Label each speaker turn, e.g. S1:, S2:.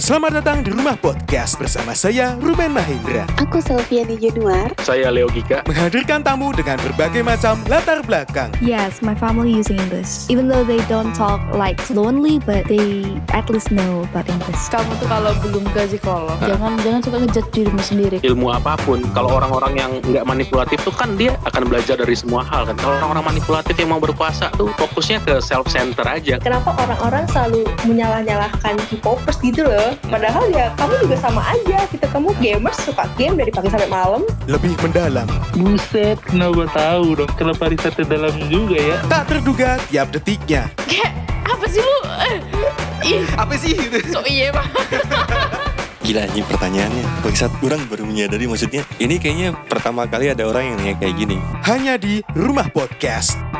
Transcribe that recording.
S1: Selamat datang di Rumah Podcast bersama saya, Ruben Mahendra.
S2: Aku Selviani Januar.
S3: Saya Leo Gika.
S1: Menghadirkan tamu dengan berbagai macam latar belakang.
S4: Yes, my family using English. Even though they don't talk like fluently, but they at least know about English.
S5: Kamu tuh kalau belum ke psikolog, ya, jangan jangan suka ngejat dirimu sendiri.
S3: Ilmu apapun, kalau orang-orang yang nggak manipulatif tuh kan dia akan belajar dari semua hal kan. Kalau orang-orang manipulatif yang mau berkuasa tuh fokusnya ke self center aja.
S6: Kenapa orang-orang selalu menyalah-nyalahkan K-popers gitu loh? Padahal ya kamu juga sama aja gitu. Kamu gamers suka game dari pagi sampai malam.
S1: Lebih mendalam,
S7: Buset, kenapa tahu dong? Kenapa risetnya dalam juga ya?
S1: tak terduga tiap detiknya.
S5: Kayak apa sih lu? Eh, Ih,
S1: Apa sih?
S5: so iya pak.
S8: Gila anjing pertanyaannya. Bagi saat orang baru menyadari maksudnya, ini kayaknya pertama kali ada orang yang nanya kayak gini.
S1: Hanya di Rumah Podcast.